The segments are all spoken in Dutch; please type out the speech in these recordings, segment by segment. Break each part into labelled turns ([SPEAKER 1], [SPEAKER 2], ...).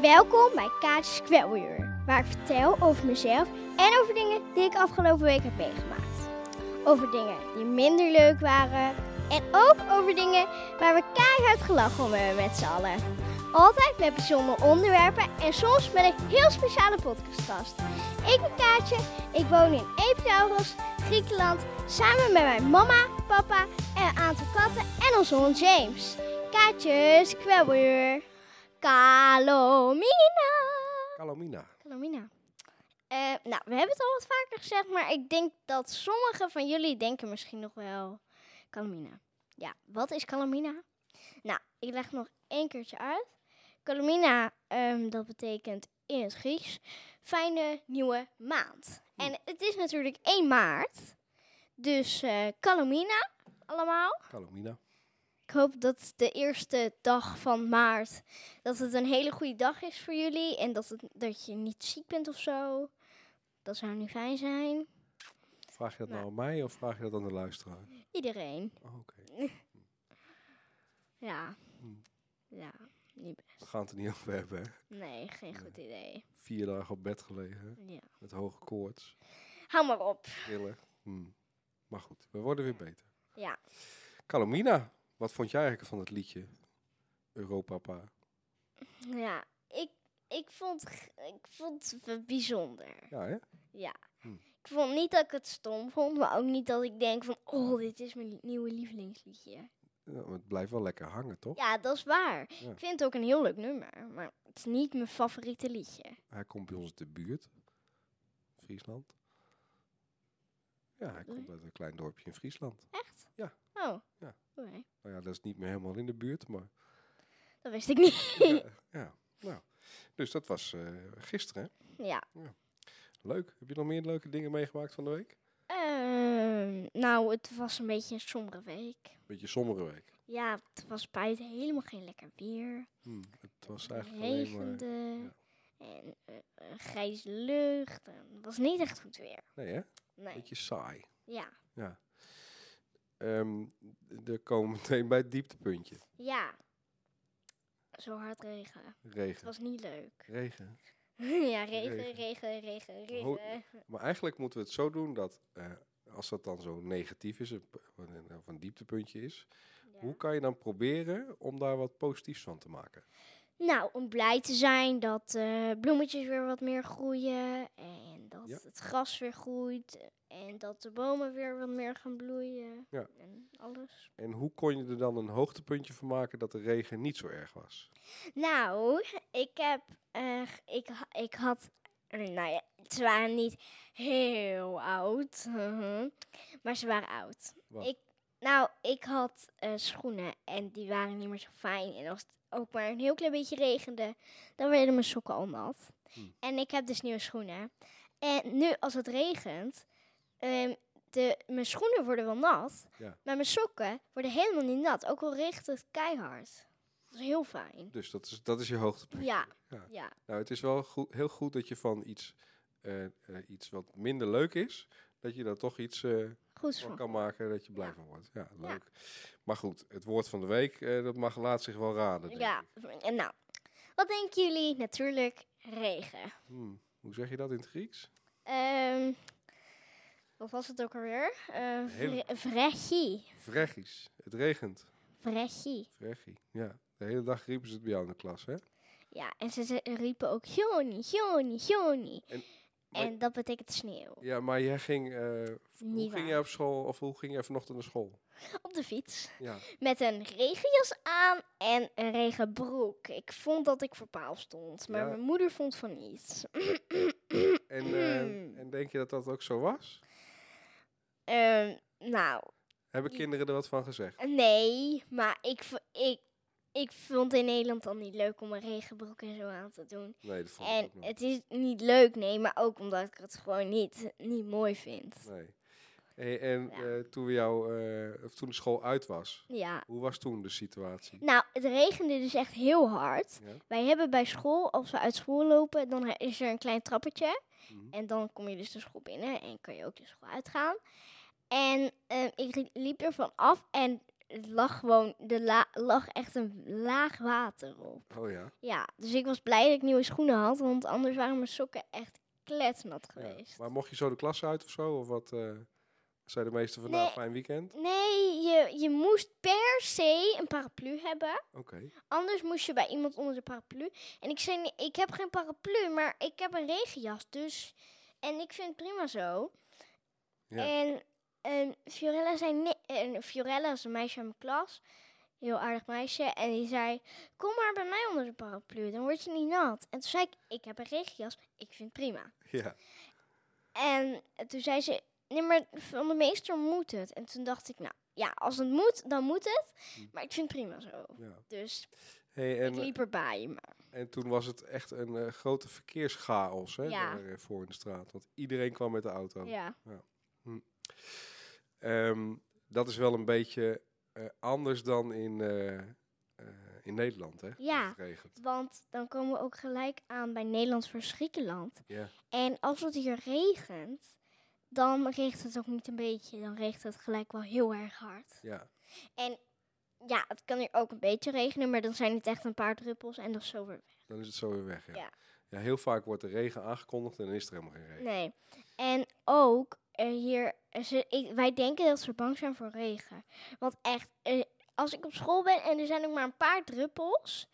[SPEAKER 1] Welkom bij Kaatje Square waar ik vertel over mezelf en over dingen die ik afgelopen week heb meegemaakt. Over dingen die minder leuk waren en ook over dingen waar we keihard gelachen om hebben met z'n allen. Altijd met bijzondere onderwerpen en soms met een heel speciale podcastgast. Ik ben Kaatje, ik woon in Epidaurus, Griekenland, samen met mijn mama, papa en een aantal katten en onze hond James. Kaatje Square Kalomina.
[SPEAKER 2] Calomina.
[SPEAKER 1] Kalomina. Eh, nou, we hebben het al wat vaker gezegd, maar ik denk dat sommigen van jullie denken misschien nog wel Kalomina. Ja, wat is Kalomina? Nou, ik leg nog één keertje uit. Kalomina, ehm, dat betekent in het Grieks fijne nieuwe maand. En het is natuurlijk 1 maart, dus eh Kalomina allemaal.
[SPEAKER 2] Calomina.
[SPEAKER 1] Ik hoop dat de eerste dag van maart dat het een hele goede dag is voor jullie en dat, het, dat je niet ziek bent of zo. Dat zou nu fijn zijn.
[SPEAKER 2] Vraag je dat nou
[SPEAKER 1] Nou.
[SPEAKER 2] aan mij of vraag je dat aan de luisteraar?
[SPEAKER 1] Iedereen.
[SPEAKER 2] Oh, Oké,
[SPEAKER 1] Ja.
[SPEAKER 2] Hmm.
[SPEAKER 1] Ja, niet best.
[SPEAKER 2] we gaan het er niet over hebben. hè.
[SPEAKER 1] Nee, geen goed idee.
[SPEAKER 2] Vier dagen op bed gelegen,
[SPEAKER 1] Ja.
[SPEAKER 2] met hoge koorts,
[SPEAKER 1] Hou maar op.
[SPEAKER 2] trillen. Hm. Maar goed, we worden weer beter.
[SPEAKER 1] Ja.
[SPEAKER 2] Calomina, wat vond jij eigenlijk van het liedje? Europapa.
[SPEAKER 1] Ja, ik, ik, vond, g- ik vond het bijzonder.
[SPEAKER 2] Ja, hè?
[SPEAKER 1] Ja.
[SPEAKER 2] Hmm.
[SPEAKER 1] Ik vond niet dat ik het stom vond, maar ook niet dat ik denk van, oh, dit is mijn nieuwe lievelingsliedje.
[SPEAKER 2] Ja, maar Nou, het blijft wel lekker hangen, toch?
[SPEAKER 1] Ja, dat is waar.
[SPEAKER 2] Ja.
[SPEAKER 1] Ik vind het ook een heel leuk nummer, maar het is niet mijn favoriete liedje.
[SPEAKER 2] Hij komt bij ons uit de buurt. Friesland. Ja, hij
[SPEAKER 1] bedoel je?
[SPEAKER 2] komt uit een klein dorpje in Friesland.
[SPEAKER 1] Echt?
[SPEAKER 2] Ja.
[SPEAKER 1] Oh.
[SPEAKER 2] Ja.
[SPEAKER 1] Oké.
[SPEAKER 2] Nou ja, dat is niet meer helemaal in de buurt, maar...
[SPEAKER 1] Dat wist ik niet.
[SPEAKER 2] ja, ja, nou. Dus dat was eh, gisteren, hè?
[SPEAKER 1] ja.
[SPEAKER 2] Leuk. Heb je nog meer leuke dingen meegemaakt van de week?
[SPEAKER 1] Ehm, nou, het was een beetje een sombere week.
[SPEAKER 2] Beetje sombere week.
[SPEAKER 1] Ja, het was buiten helemaal geen lekker weer.
[SPEAKER 2] Hm, Het was
[SPEAKER 1] Het
[SPEAKER 2] eigenlijk alleen maar...
[SPEAKER 1] regende. En eh, eh, grijze lucht. En het was niet echt goed weer.
[SPEAKER 2] Nee, hè?
[SPEAKER 1] Nee.
[SPEAKER 2] Beetje saai.
[SPEAKER 1] Ja.
[SPEAKER 2] Ehm er komen we meteen bij het dieptepuntje.
[SPEAKER 1] Ja. Zo hard regen. Het
[SPEAKER 2] Regen.
[SPEAKER 1] was niet leuk.
[SPEAKER 2] Regen.
[SPEAKER 1] ja, regen,
[SPEAKER 2] Regen.
[SPEAKER 1] regen, regen,
[SPEAKER 2] Ho-
[SPEAKER 1] regen.
[SPEAKER 2] Maar eigenlijk moeten we het zo doen dat... eh, als dat dan zo negatief is, een p- of een of een dieptepuntje is...
[SPEAKER 1] Ja.
[SPEAKER 2] Hoe kan je dan proberen om daar wat positiefs van te maken?
[SPEAKER 1] Nou, om blij te zijn dat eh, bloemetjes weer wat meer groeien. En dat
[SPEAKER 2] Ja.
[SPEAKER 1] het gras weer groeit. En dat de bomen weer wat meer gaan bloeien.
[SPEAKER 2] Ja.
[SPEAKER 1] En alles.
[SPEAKER 2] En hoe kon je er dan een hoogtepuntje van maken dat de regen niet zo erg was?
[SPEAKER 1] Nou, ik heb. eh, g- ik, ha- ik had. Nou ja, ze waren niet heel oud. mhm, maar ze waren oud.
[SPEAKER 2] Wat?
[SPEAKER 1] Ik, nou, ik had eh, schoenen en die waren niet meer zo fijn. En als het ook maar een heel klein beetje regende, dan werden mijn sokken al nat.
[SPEAKER 2] Hmm.
[SPEAKER 1] En ik heb dus nieuwe schoenen. En nu als het regent, ehm, de, mijn schoenen worden wel nat.
[SPEAKER 2] Ja.
[SPEAKER 1] Maar mijn sokken worden helemaal niet nat. Ook al regent het keihard. Dat is heel fijn.
[SPEAKER 2] Dus dat is, dat is je hoogtepunt.
[SPEAKER 1] Ja,
[SPEAKER 2] Ja.
[SPEAKER 1] ja,
[SPEAKER 2] Nou, het is wel goed, heel goed dat je van iets, eh, eh, iets wat minder leuk is, dat je daar toch iets eh,
[SPEAKER 1] goed
[SPEAKER 2] van
[SPEAKER 1] van.
[SPEAKER 2] kan maken dat je blij
[SPEAKER 1] Hm. Ja.
[SPEAKER 2] van wordt. Ja, leuk. Maar goed, het woord van de week, eh, dat mag laat zich wel raden. denk
[SPEAKER 1] Ja,
[SPEAKER 2] ik.
[SPEAKER 1] en nou, wat denken jullie? Natuurlijk regen.
[SPEAKER 2] Hmm, Hoe zeg je dat in het Grieks?
[SPEAKER 1] Ehm wat was het ook alweer? Eh
[SPEAKER 2] hele-
[SPEAKER 1] vre- Vregie.
[SPEAKER 2] Vregisch. Het regent.
[SPEAKER 1] Vregie.
[SPEAKER 2] Vregi. Ja. De hele dag riepen ze het bij jou in de klas, hè?
[SPEAKER 1] Ja, en ze, ze riepen ook Joni, Joni, Joni. En,
[SPEAKER 2] En- maar-
[SPEAKER 1] dat betekent sneeuw.
[SPEAKER 2] Ja, maar jij ging... eh,
[SPEAKER 1] Niet
[SPEAKER 2] hoe ging
[SPEAKER 1] waar.
[SPEAKER 2] jij op school, of hoe ging jij vanochtend naar school?
[SPEAKER 1] Op de fiets.
[SPEAKER 2] Ja.
[SPEAKER 1] Met een regenjas aan en een regenbroek. Ik vond dat ik voor paal stond, maar
[SPEAKER 2] Ja.
[SPEAKER 1] mijn moeder vond van niets.
[SPEAKER 2] En, eh,
[SPEAKER 1] Hmm.
[SPEAKER 2] en denk je dat dat ook zo was?
[SPEAKER 1] Ehm, nou,
[SPEAKER 2] Hebben
[SPEAKER 1] Ja.
[SPEAKER 2] kinderen er wat van gezegd?
[SPEAKER 1] Nee, maar ik, v- ik, ik vond het in Nederland al niet leuk om een regenbroek en zo aan te doen.
[SPEAKER 2] Nee, dat vond ik
[SPEAKER 1] En
[SPEAKER 2] ook nog.
[SPEAKER 1] het is niet leuk, nee, maar ook omdat ik het gewoon niet, niet mooi vind.
[SPEAKER 2] Nee. Hey, en
[SPEAKER 1] Ja.
[SPEAKER 2] eh, toen, we jou, eh, of toen de school uit was,
[SPEAKER 1] Ja.
[SPEAKER 2] hoe was toen de situatie?
[SPEAKER 1] Nou, het regende dus echt heel hard.
[SPEAKER 2] Ja?
[SPEAKER 1] Wij hebben bij school, als we uit school lopen, dan is er een klein trappetje.
[SPEAKER 2] Mhm.
[SPEAKER 1] En dan kom je dus de school binnen en kan je ook de school uitgaan. En ehm, ik ri- liep ervan af en het lag gewoon, er la- lag echt een laag water op.
[SPEAKER 2] Oh ja.
[SPEAKER 1] Ja, dus ik was blij dat ik nieuwe schoenen had, want anders waren mijn sokken echt kletsnat
[SPEAKER 2] Ja.
[SPEAKER 1] geweest.
[SPEAKER 2] Maar mocht je zo de klas uit of zo? Of wat eh zei de meester vandaag?
[SPEAKER 1] Nee.
[SPEAKER 2] Fijn weekend?
[SPEAKER 1] Nee, je, je moest per se een paraplu hebben.
[SPEAKER 2] Oké.
[SPEAKER 1] Anders moest je bij iemand onder de paraplu. En ik zei, nee, ik heb geen paraplu, maar ik heb een regenjas, dus... En ik vind het prima zo.
[SPEAKER 2] Ja.
[SPEAKER 1] En, en Fiorella zei, nee, en Fiorella is een meisje uit mijn klas. Heel aardig meisje. En die zei, kom maar bij mij onder de paraplu, dan word je niet nat. En toen zei ik, ik heb een regenjas, ik vind het prima.
[SPEAKER 2] Ja.
[SPEAKER 1] En toen zei ze, nee, maar van de meester moet het. En toen dacht ik, nou, ja, als het moet, dan moet het.
[SPEAKER 2] Hm.
[SPEAKER 1] Maar ik vind het prima zo.
[SPEAKER 2] ja.
[SPEAKER 1] Dus
[SPEAKER 2] Hey, en, eh,
[SPEAKER 1] ik liep erbij, maar...
[SPEAKER 2] en toen was het echt een eh, grote verkeerschaos hè,
[SPEAKER 1] Ja.
[SPEAKER 2] daar, eh, voor in de straat. Want iedereen kwam met de auto.
[SPEAKER 1] Ja.
[SPEAKER 2] Ehm, dat is wel een beetje eh, anders dan in, eh, eh, in Nederland, hè?
[SPEAKER 1] Ja.
[SPEAKER 2] Als het regent.
[SPEAKER 1] Want dan komen we ook gelijk aan bij Nederlands voor Griekenland.
[SPEAKER 2] Ja.
[SPEAKER 1] En als het hier regent, dan regent het ook niet een beetje. Dan regent het gelijk wel heel erg hard.
[SPEAKER 2] ja.
[SPEAKER 1] Ja, het kan hier ook een beetje regenen, maar dan zijn het echt een paar druppels en dan is zo weer weg.
[SPEAKER 2] Dan is het zo weer weg, ja. ja.
[SPEAKER 1] Ja.
[SPEAKER 2] heel vaak wordt de regen aangekondigd en dan is er helemaal geen regen.
[SPEAKER 1] Nee. En ook eh, hier, eh, ze, ik- wij denken dat ze bang zijn voor regen. Want echt, eh, als ik op school ben en er zijn ook maar een paar druppels,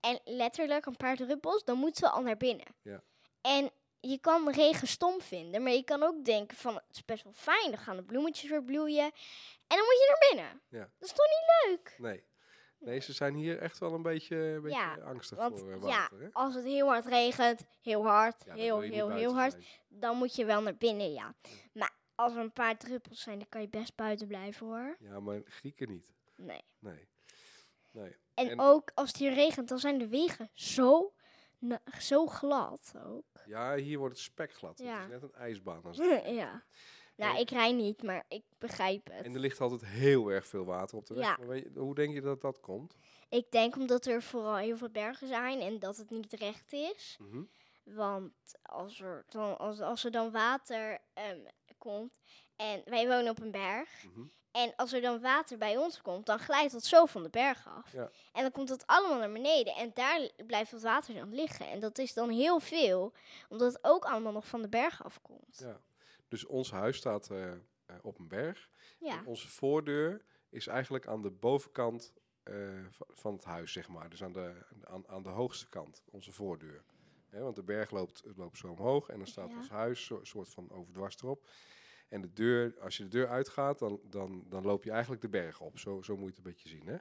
[SPEAKER 1] en letterlijk een paar druppels, dan moeten we al naar binnen.
[SPEAKER 2] Ja.
[SPEAKER 1] En je kan regen stom vinden, maar je kan ook denken van het is best wel fijn, dan gaan de bloemetjes weer bloeien. En dan moet je naar binnen.
[SPEAKER 2] Ja.
[SPEAKER 1] Dat is toch niet leuk?
[SPEAKER 2] Nee. Nee, ze zijn hier echt wel een beetje, een beetje
[SPEAKER 1] Ja,
[SPEAKER 2] angstig
[SPEAKER 1] want
[SPEAKER 2] voor eh,
[SPEAKER 1] ja,
[SPEAKER 2] water, hè?
[SPEAKER 1] Als het heel hard regent, heel hard,
[SPEAKER 2] dan
[SPEAKER 1] heel,
[SPEAKER 2] wil je niet
[SPEAKER 1] heel, heel
[SPEAKER 2] buiten
[SPEAKER 1] hard,
[SPEAKER 2] zijn.
[SPEAKER 1] dan moet je wel naar binnen, ja. Maar als er een paar druppels zijn, dan kan je best buiten blijven hoor.
[SPEAKER 2] Ja, maar Grieken niet.
[SPEAKER 1] Nee.
[SPEAKER 2] Nee. Nee.
[SPEAKER 1] En,
[SPEAKER 2] En-
[SPEAKER 1] ook als het hier regent, dan zijn de wegen zo, na- zo glad ook.
[SPEAKER 2] Ja, hier wordt het spek glad.
[SPEAKER 1] Ja.
[SPEAKER 2] Het is net een ijsbaan. Als het-
[SPEAKER 1] ja.
[SPEAKER 2] En-
[SPEAKER 1] Nou, ik rij niet, maar ik begrijp
[SPEAKER 2] En
[SPEAKER 1] het.
[SPEAKER 2] er ligt altijd heel erg veel water op de weg.
[SPEAKER 1] Ja.
[SPEAKER 2] Maar weet je- hoe denk je dat dat komt?
[SPEAKER 1] Ik denk omdat er vooral heel veel bergen zijn en dat het niet recht is.
[SPEAKER 2] Mhm.
[SPEAKER 1] Want als er dan, als, als er dan water ehm, komt en wij wonen op een berg,
[SPEAKER 2] Mhm.
[SPEAKER 1] En als er dan water bij ons komt, dan glijdt dat zo van de berg af.
[SPEAKER 2] Ja.
[SPEAKER 1] En dan komt dat allemaal naar beneden. En daar l- blijft dat water dan liggen. En dat is dan heel veel, omdat het ook allemaal nog van de berg afkomt.
[SPEAKER 2] Ja. Dus ons huis staat eh, eh, op een berg.
[SPEAKER 1] Ja.
[SPEAKER 2] En onze voordeur is eigenlijk aan de bovenkant eh, va- van het huis, zeg maar. Dus aan de, aan, aan de hoogste kant, onze voordeur. Hè, want de berg loopt, loopt zo omhoog en dan staat
[SPEAKER 1] Ja.
[SPEAKER 2] ons huis zo, soort van overdwars erop. En de deur, als je de deur uitgaat, dan, dan, dan loop je eigenlijk de berg op. Zo, zo moet je het een beetje zien, hè?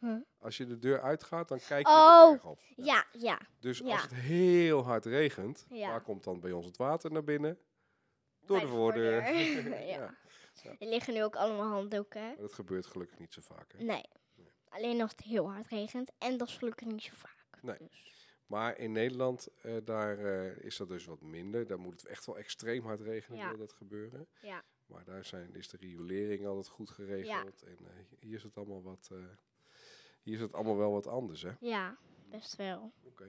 [SPEAKER 1] Huh?
[SPEAKER 2] Als je de deur uitgaat, dan kijk je
[SPEAKER 1] Hm. Oh,
[SPEAKER 2] de berg op.
[SPEAKER 1] Ja, ja.
[SPEAKER 2] Dus
[SPEAKER 1] ja.
[SPEAKER 2] als het heel hard regent,
[SPEAKER 1] Ja.
[SPEAKER 2] waar komt dan bij ons het water naar binnen? Door
[SPEAKER 1] Bij
[SPEAKER 2] de
[SPEAKER 1] de
[SPEAKER 2] voordeur.
[SPEAKER 1] voordeur. Ja. Er liggen nu ook allemaal handdoeken.
[SPEAKER 2] Maar dat gebeurt gelukkig niet zo vaak. Hè?
[SPEAKER 1] Nee. Alleen als het heel hard regent. En dat is gelukkig niet zo vaak.
[SPEAKER 2] Nee.
[SPEAKER 1] Dus.
[SPEAKER 2] Maar in Nederland, eh, daar eh, is dat dus wat minder. Daar moet het echt wel extreem hard regenen,
[SPEAKER 1] Ja.
[SPEAKER 2] wil dat gebeuren.
[SPEAKER 1] Ja.
[SPEAKER 2] Maar daar zijn, is de riolering altijd goed geregeld. En eh, hier is het allemaal wat... eh, hier is het allemaal wel wat anders, hè?
[SPEAKER 1] Ja, best wel.
[SPEAKER 2] Oké.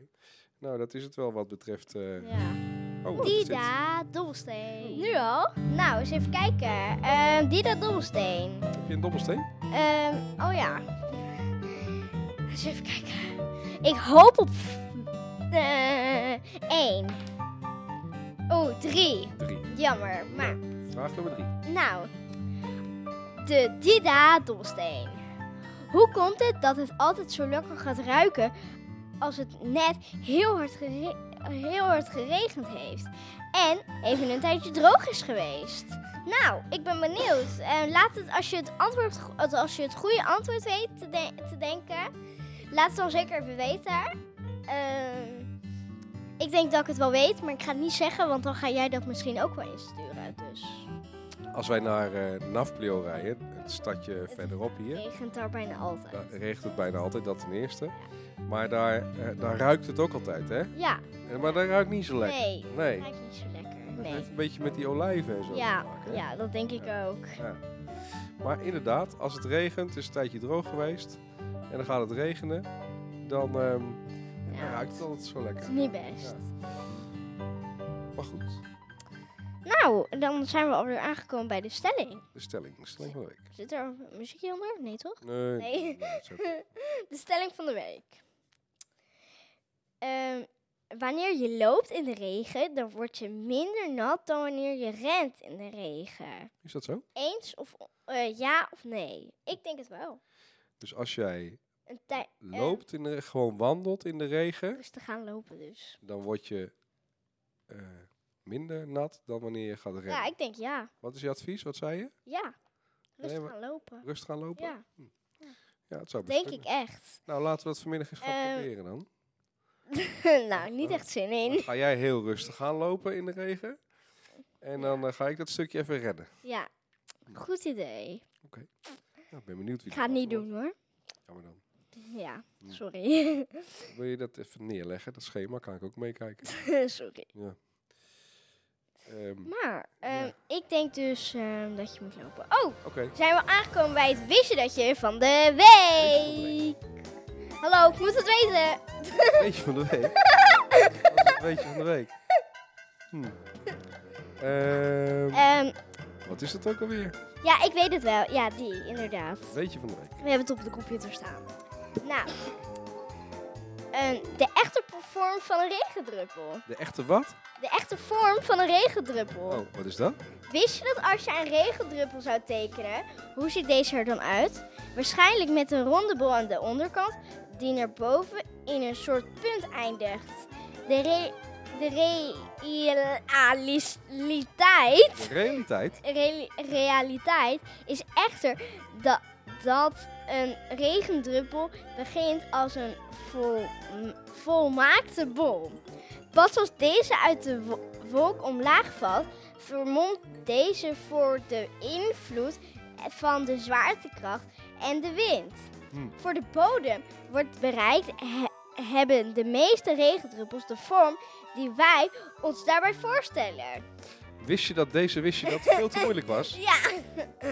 [SPEAKER 2] Nou, dat is het wel wat betreft... eh
[SPEAKER 1] Ja.
[SPEAKER 2] oh, wat is dit?
[SPEAKER 1] Dida, dobbelsteen. Nu al? Nou, eens even kijken. Eh, Dida, dobbelsteen.
[SPEAKER 2] Heb je een dobbelsteen?
[SPEAKER 1] Ehm, oh ja. Eens even kijken. Ik hoop op 1. oh, 3.
[SPEAKER 2] Drie.
[SPEAKER 1] Jammer. Maar,
[SPEAKER 2] Vraag nummer drie.
[SPEAKER 1] nou. De Dida-dobbelsteen. Hoe komt het dat het altijd zo lekker gaat ruiken als het net heel hard, gere- heel hard geregend heeft? En even een tijdje droog is geweest. Nou, ik ben benieuwd. Eh, laat het als je het, antwoord, eh, als je het goede antwoord weet te, de- te denken, laat het dan zeker even weten. Ehm, ik denk dat ik het wel weet, maar ik ga het niet zeggen, want dan ga jij dat misschien ook wel insturen. Dus
[SPEAKER 2] Als wij naar eh Nafplio rijden, het stadje verderop hier...
[SPEAKER 1] het regent daar bijna altijd.
[SPEAKER 2] Daar regent het bijna altijd, dat ten eerste. Maar daar, eh, daar ruikt het ook altijd, hè?
[SPEAKER 1] Ja,
[SPEAKER 2] Eh, Maar daar ruikt niet zo lekker.
[SPEAKER 1] nee.
[SPEAKER 2] Nee.
[SPEAKER 1] Lijkt niet zo lekker.
[SPEAKER 2] Dat
[SPEAKER 1] Nee.
[SPEAKER 2] heeft een beetje met die olijven en zo te
[SPEAKER 1] Ja,
[SPEAKER 2] maken. hè?
[SPEAKER 1] ja, dat denk ik ook.
[SPEAKER 2] Maar inderdaad, als het regent, is het een tijdje droog geweest. En dan gaat het regenen. Dan, ehm, dan
[SPEAKER 1] Ja,
[SPEAKER 2] ruikt het altijd zo
[SPEAKER 1] Het
[SPEAKER 2] lekker.
[SPEAKER 1] is niet best.
[SPEAKER 2] Ja. Maar goed,
[SPEAKER 1] Nou, dan zijn we alweer aangekomen bij de stelling.
[SPEAKER 2] De stelling, de stelling van de week.
[SPEAKER 1] Zit er muziekje onder? Nee, toch?
[SPEAKER 2] Nee.
[SPEAKER 1] Nee.
[SPEAKER 2] dat is ook-
[SPEAKER 1] De stelling van de week. Ehm, wanneer je loopt in de regen, dan word je minder nat dan wanneer je rent in de regen.
[SPEAKER 2] Is dat zo?
[SPEAKER 1] Eens of eh, ja of nee? Ik denk het wel.
[SPEAKER 2] Dus als jij
[SPEAKER 1] Een tijd
[SPEAKER 2] loopt, in de, gewoon wandelt in de regen,
[SPEAKER 1] dus te gaan lopen dus.
[SPEAKER 2] dan word je eh, minder nat dan wanneer je gaat rennen.
[SPEAKER 1] Ja, ik denk ja.
[SPEAKER 2] Wat is je advies? Wat zei je?
[SPEAKER 1] Ja. Rustig
[SPEAKER 2] maar-
[SPEAKER 1] gaan lopen.
[SPEAKER 2] Rustig gaan lopen?
[SPEAKER 1] Ja,
[SPEAKER 2] Ja, het zou best
[SPEAKER 1] denk ik
[SPEAKER 2] kunnen.
[SPEAKER 1] echt.
[SPEAKER 2] Nou, laten we dat vanmiddag eens gaan
[SPEAKER 1] Ehm,
[SPEAKER 2] proberen dan.
[SPEAKER 1] nou, niet echt zin in.
[SPEAKER 2] Dan ga jij heel rustig gaan lopen in de regen. En dan eh, ga ik dat stukje even redden.
[SPEAKER 1] Ja, goed idee.
[SPEAKER 2] Nou, ik ben benieuwd wie
[SPEAKER 1] Ik ga het
[SPEAKER 2] dat
[SPEAKER 1] niet
[SPEAKER 2] wordt.
[SPEAKER 1] doen hoor.
[SPEAKER 2] Ja, maar dan.
[SPEAKER 1] Ja, sorry.
[SPEAKER 2] Wil je dat even neerleggen, dat schema? Kan ik ook meekijken.
[SPEAKER 1] sorry.
[SPEAKER 2] Ehm,
[SPEAKER 1] Maar ehm,
[SPEAKER 2] Ja.
[SPEAKER 1] ik denk dus ehm, dat je moet lopen. Oh,
[SPEAKER 2] Oké,
[SPEAKER 1] zijn we aangekomen bij het wist je dat je van de
[SPEAKER 2] van de
[SPEAKER 1] week. Hallo, ik moet het weten.
[SPEAKER 2] beetje van de week. Dat was een beetje van de week. Hm. Ehm,
[SPEAKER 1] Ehm,
[SPEAKER 2] wat is dat ook alweer?
[SPEAKER 1] ja, ik weet het wel. Ja, die, inderdaad.
[SPEAKER 2] Beetje van de week.
[SPEAKER 1] We hebben het op de computer staan. Nou, ehm, de echte vorm van een regendruppel.
[SPEAKER 2] De echte wat?
[SPEAKER 1] De echte vorm van een regendruppel.
[SPEAKER 2] Oh, wat is dat?
[SPEAKER 1] Wist je dat als je een regendruppel zou tekenen, hoe ziet deze er dan uit? Waarschijnlijk met een ronde bol aan de onderkant die naar boven in een soort punt eindigt. De, re de realiteit,
[SPEAKER 2] De realiteit.
[SPEAKER 1] reali- realiteit is echter dat, dat een regendruppel begint als een vol- volmaakte bol. Pas als deze uit de wo- wolk omlaag valt, vermomt deze voor de invloed van de zwaartekracht en de wind.
[SPEAKER 2] Hmm.
[SPEAKER 1] Voor de bodem wordt bereikt, he- hebben de meeste regendruppels de vorm die wij ons daarbij voorstellen.
[SPEAKER 2] Wist je dat deze wist je dat veel te moeilijk was?
[SPEAKER 1] Ja,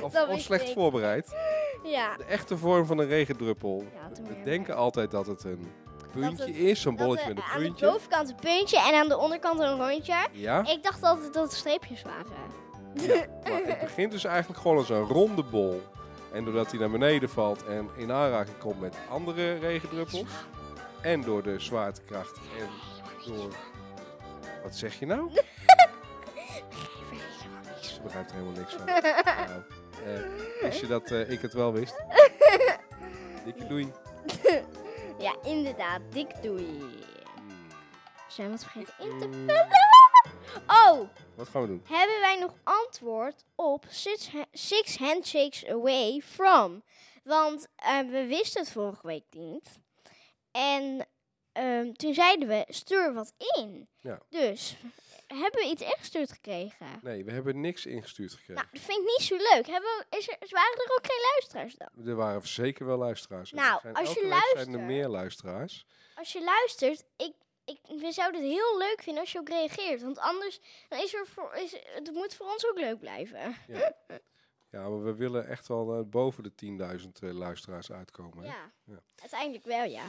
[SPEAKER 2] Of,
[SPEAKER 1] dat
[SPEAKER 2] of
[SPEAKER 1] wist
[SPEAKER 2] slecht
[SPEAKER 1] ik.
[SPEAKER 2] voorbereid?
[SPEAKER 1] ja.
[SPEAKER 2] De echte vorm van een regendruppel.
[SPEAKER 1] Ja, toen
[SPEAKER 2] We
[SPEAKER 1] weer.
[SPEAKER 2] denken altijd dat het een puntje
[SPEAKER 1] het-
[SPEAKER 2] is, zo'n
[SPEAKER 1] Dat,
[SPEAKER 2] bolletje
[SPEAKER 1] eh,
[SPEAKER 2] met een
[SPEAKER 1] aan
[SPEAKER 2] puntje.
[SPEAKER 1] de bovenkant een puntje en aan de onderkant een rondje.
[SPEAKER 2] ja,
[SPEAKER 1] Ik dacht altijd dat het streepjes waren.
[SPEAKER 2] maar het begint dus eigenlijk gewoon als een ronde bol. En doordat hij naar beneden valt en in aanraking komt met andere regendruppels. En door de zwaartekracht en door... Wat zeg je nou? Ze begrijpt er helemaal niks van. Nou, eh, wist je dat eh, ik het wel wist? Dikke doei.
[SPEAKER 1] Ja, inderdaad. Dik doei.
[SPEAKER 2] Hmm,
[SPEAKER 1] Zijn we het vergeten in te
[SPEAKER 2] hmm,
[SPEAKER 1] Oh,
[SPEAKER 2] Wat gaan we doen?
[SPEAKER 1] hebben wij nog antwoord op Six, Ha- Six Handshakes Away From? Want eh, we wisten het vorige week niet. En ehm, toen zeiden we, stuur wat in.
[SPEAKER 2] Ja.
[SPEAKER 1] Dus, hebben we iets ingestuurd gekregen?
[SPEAKER 2] Nee, we hebben niks ingestuurd gekregen.
[SPEAKER 1] Nou, dat vind ik niet zo leuk. Hebben we, is er, waren er ook geen luisteraars dan?
[SPEAKER 2] Er waren zeker wel luisteraars. En
[SPEAKER 1] Nou,
[SPEAKER 2] er zijn
[SPEAKER 1] als
[SPEAKER 2] elke
[SPEAKER 1] je
[SPEAKER 2] week zijn er
[SPEAKER 1] luistert-
[SPEAKER 2] meer luisteraars.
[SPEAKER 1] Als je luistert, ik, ik, we zouden het heel leuk vinden als je ook reageert. Want anders dan is er voor, is, het moet voor ons ook leuk blijven.
[SPEAKER 2] Ja. ja, maar we willen echt wel eh, boven de 10.000 eh, luisteraars uitkomen. hè?
[SPEAKER 1] Ja.
[SPEAKER 2] Ja.
[SPEAKER 1] uiteindelijk wel, ja.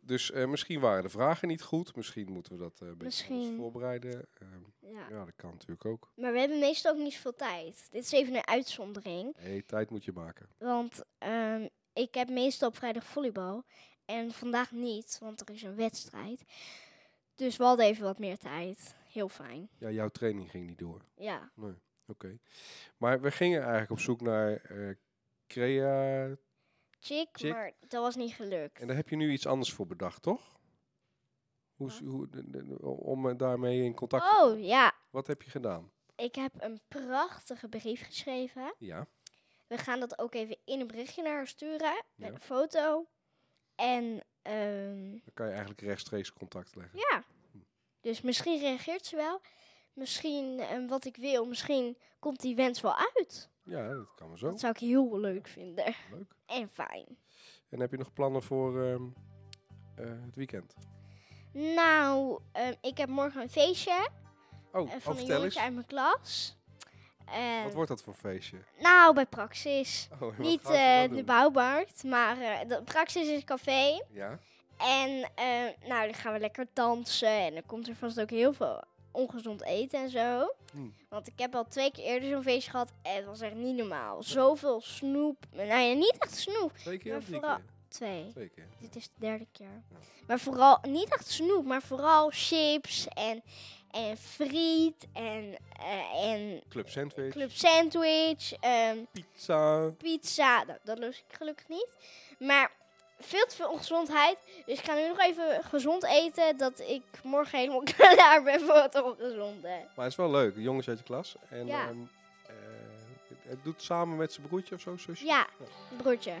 [SPEAKER 2] Dus eh, misschien waren de vragen niet goed. Misschien moeten we dat eh, een beetje anders
[SPEAKER 1] Misschien.
[SPEAKER 2] voorbereiden. Ehm,
[SPEAKER 1] ja.
[SPEAKER 2] ja, dat kan natuurlijk ook.
[SPEAKER 1] Maar we hebben meestal ook niet zoveel tijd. Dit is even een uitzondering.
[SPEAKER 2] hey, tijd moet je maken.
[SPEAKER 1] Want ehm, ik heb meestal op vrijdag volleybal. En vandaag niet, want er is een wedstrijd. Dus we hadden even wat meer tijd. Heel fijn.
[SPEAKER 2] Ja, jouw training ging niet door.
[SPEAKER 1] Ja.
[SPEAKER 2] Oké. Maar we gingen eigenlijk op zoek naar eh, crea.
[SPEAKER 1] Chick,
[SPEAKER 2] Chick.
[SPEAKER 1] maar dat was niet gelukt.
[SPEAKER 2] En daar heb je nu iets anders voor bedacht, toch? Hoe, is-
[SPEAKER 1] Wat?
[SPEAKER 2] hoe, de- de- de- om eh, daarmee in contact te
[SPEAKER 1] Oh, ja.
[SPEAKER 2] Wat heb je gedaan?
[SPEAKER 1] Ik heb een prachtige brief geschreven.
[SPEAKER 2] Ja.
[SPEAKER 1] We gaan dat ook even in een berichtje naar haar sturen. Met
[SPEAKER 2] Ja.
[SPEAKER 1] een foto. En ehm,
[SPEAKER 2] Dan kan je eigenlijk rechtstreeks contact leggen.
[SPEAKER 1] ja. Dus misschien reageert ze wel. Misschien ehm, wat ik wil. Misschien komt die wens wel uit.
[SPEAKER 2] Ja, dat kan wel zo.
[SPEAKER 1] Dat zou ik heel leuk vinden.
[SPEAKER 2] Leuk.
[SPEAKER 1] En fijn.
[SPEAKER 2] En heb je nog plannen voor ehm, eh, het weekend?
[SPEAKER 1] Nou, ehm, ik heb morgen een feestje.
[SPEAKER 2] Oh,
[SPEAKER 1] eh,
[SPEAKER 2] oh,
[SPEAKER 1] van een
[SPEAKER 2] vertel
[SPEAKER 1] jongetje
[SPEAKER 2] eens.
[SPEAKER 1] uit mijn klas. Ehm,
[SPEAKER 2] Wat wordt dat voor feestje?
[SPEAKER 1] nou, bij Praxis.
[SPEAKER 2] Oh, en wat
[SPEAKER 1] Niet
[SPEAKER 2] gaan ze
[SPEAKER 1] eh,
[SPEAKER 2] dan
[SPEAKER 1] de
[SPEAKER 2] doen?
[SPEAKER 1] bouwmarkt, maar eh, de Praxis is een café.
[SPEAKER 2] Ja,
[SPEAKER 1] En eh, nou, dan gaan we lekker dansen. En dan komt er vast ook heel veel ongezond eten en zo.
[SPEAKER 2] Hmm.
[SPEAKER 1] Want ik heb al twee keer eerder zo'n feestje gehad en het was echt niet normaal. Zoveel snoep. Nou ja, niet echt snoep.
[SPEAKER 2] Twee keer
[SPEAKER 1] Maar
[SPEAKER 2] of drie
[SPEAKER 1] vooral-
[SPEAKER 2] keer?
[SPEAKER 1] Twee.
[SPEAKER 2] Twee keer.
[SPEAKER 1] Dit is de derde keer.
[SPEAKER 2] Ja.
[SPEAKER 1] Maar vooral, niet echt snoep, maar vooral chips en, en friet en, eh, en
[SPEAKER 2] Club sandwich,
[SPEAKER 1] club sandwich, ehm,
[SPEAKER 2] pizza.
[SPEAKER 1] pizza. Nou, dat lust ik gelukkig niet. Maar veel te veel ongezondheid. Dus ik ga nu nog even gezond eten, dat ik morgen helemaal klaar ben voor het ongezonde.
[SPEAKER 2] Maar het is wel leuk, jongens uit je klas. En
[SPEAKER 1] Ja.
[SPEAKER 2] ehm, eh, het- het doet samen met zijn broertje of zo, zusje.
[SPEAKER 1] Ja, broertje.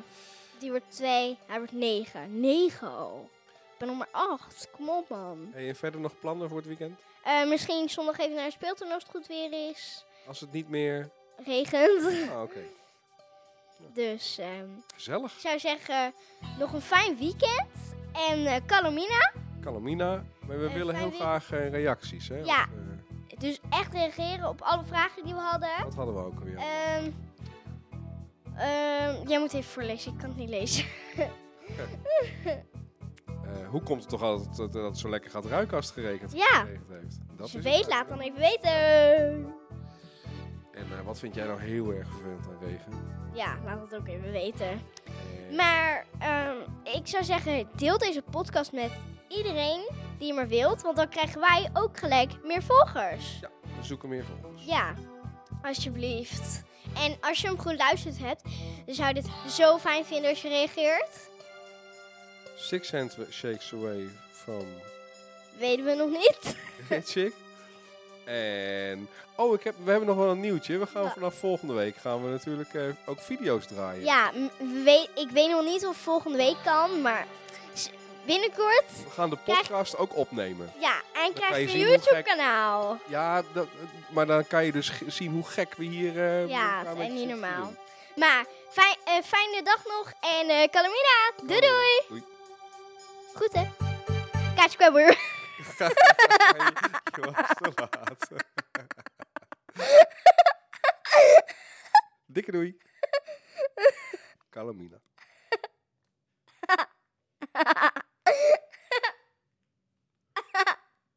[SPEAKER 1] Die wordt twee, hij wordt negen. Negen al. Ik ben nog maar acht. Kom op, man.
[SPEAKER 2] Hey, en verder nog plannen voor het weekend?
[SPEAKER 1] Eh, misschien zondag even naar een speeltuin als het goed weer is.
[SPEAKER 2] Als het niet meer...
[SPEAKER 1] Regent.
[SPEAKER 2] Ah, oké.
[SPEAKER 1] Dus ehm,
[SPEAKER 2] Gezellig.
[SPEAKER 1] ik zou zeggen, nog een fijn weekend. En eh, Calomina.
[SPEAKER 2] Calomina. Maar we
[SPEAKER 1] Eh,
[SPEAKER 2] willen heel
[SPEAKER 1] fijn
[SPEAKER 2] graag eh, reacties, hè?
[SPEAKER 1] Ja.
[SPEAKER 2] Op, eh,
[SPEAKER 1] Dus echt reageren op alle vragen die we hadden.
[SPEAKER 2] dat eh, hadden we ook alweer.
[SPEAKER 1] Ehm, ehm, jij moet even voorlezen, ik kan het niet lezen.
[SPEAKER 2] Eh, hoe komt het toch altijd dat, dat het zo lekker gaat ruiken als het gerekend
[SPEAKER 1] Ja.
[SPEAKER 2] geregend heeft? Dat
[SPEAKER 1] Als je
[SPEAKER 2] is
[SPEAKER 1] weet,
[SPEAKER 2] het.
[SPEAKER 1] laat dan even weten.
[SPEAKER 2] En eh, wat vind jij nou heel erg vervelend aan regen?
[SPEAKER 1] Ja, laat het ook even weten.
[SPEAKER 2] Eh,
[SPEAKER 1] Maar ehm, ik zou zeggen, deel deze podcast met iedereen die maar wilt. Want dan krijgen wij ook gelijk meer volgers.
[SPEAKER 2] we zoeken meer volgers.
[SPEAKER 1] Ja, alsjeblieft. En als je hem geluisterd hebt, dan zou je dit zo fijn vinden als je reageert.
[SPEAKER 2] Six handshakes away from
[SPEAKER 1] Weten we nog niet.
[SPEAKER 2] Chick. En oh, ik heb, we hebben nog wel een nieuwtje. We gaan
[SPEAKER 1] Ja.
[SPEAKER 2] vanaf volgende week gaan we natuurlijk eh, ook video's draaien.
[SPEAKER 1] Ja, m- we weet- ik weet nog niet of volgende week kan, maar s- binnenkort,
[SPEAKER 2] We gaan de
[SPEAKER 1] Krijg-
[SPEAKER 2] podcast ook opnemen.
[SPEAKER 1] ja. En
[SPEAKER 2] kan je
[SPEAKER 1] krijg je
[SPEAKER 2] zien
[SPEAKER 1] een
[SPEAKER 2] hoe gek-
[SPEAKER 1] YouTube-kanaal.
[SPEAKER 2] Ja, dat, maar dan kan je dus g- zien hoe gek we hier. eh,
[SPEAKER 1] Ja,
[SPEAKER 2] elkaar
[SPEAKER 1] het
[SPEAKER 2] met
[SPEAKER 1] is niet
[SPEAKER 2] zitten te
[SPEAKER 1] normaal.
[SPEAKER 2] doen.
[SPEAKER 1] Maar fijn, eh, fijne dag nog en eh Calamina, doei doei!
[SPEAKER 2] Doei.
[SPEAKER 1] Goed hè? Kaatje Kwebber.
[SPEAKER 2] Je was te laat. Dikke doei. Calamina.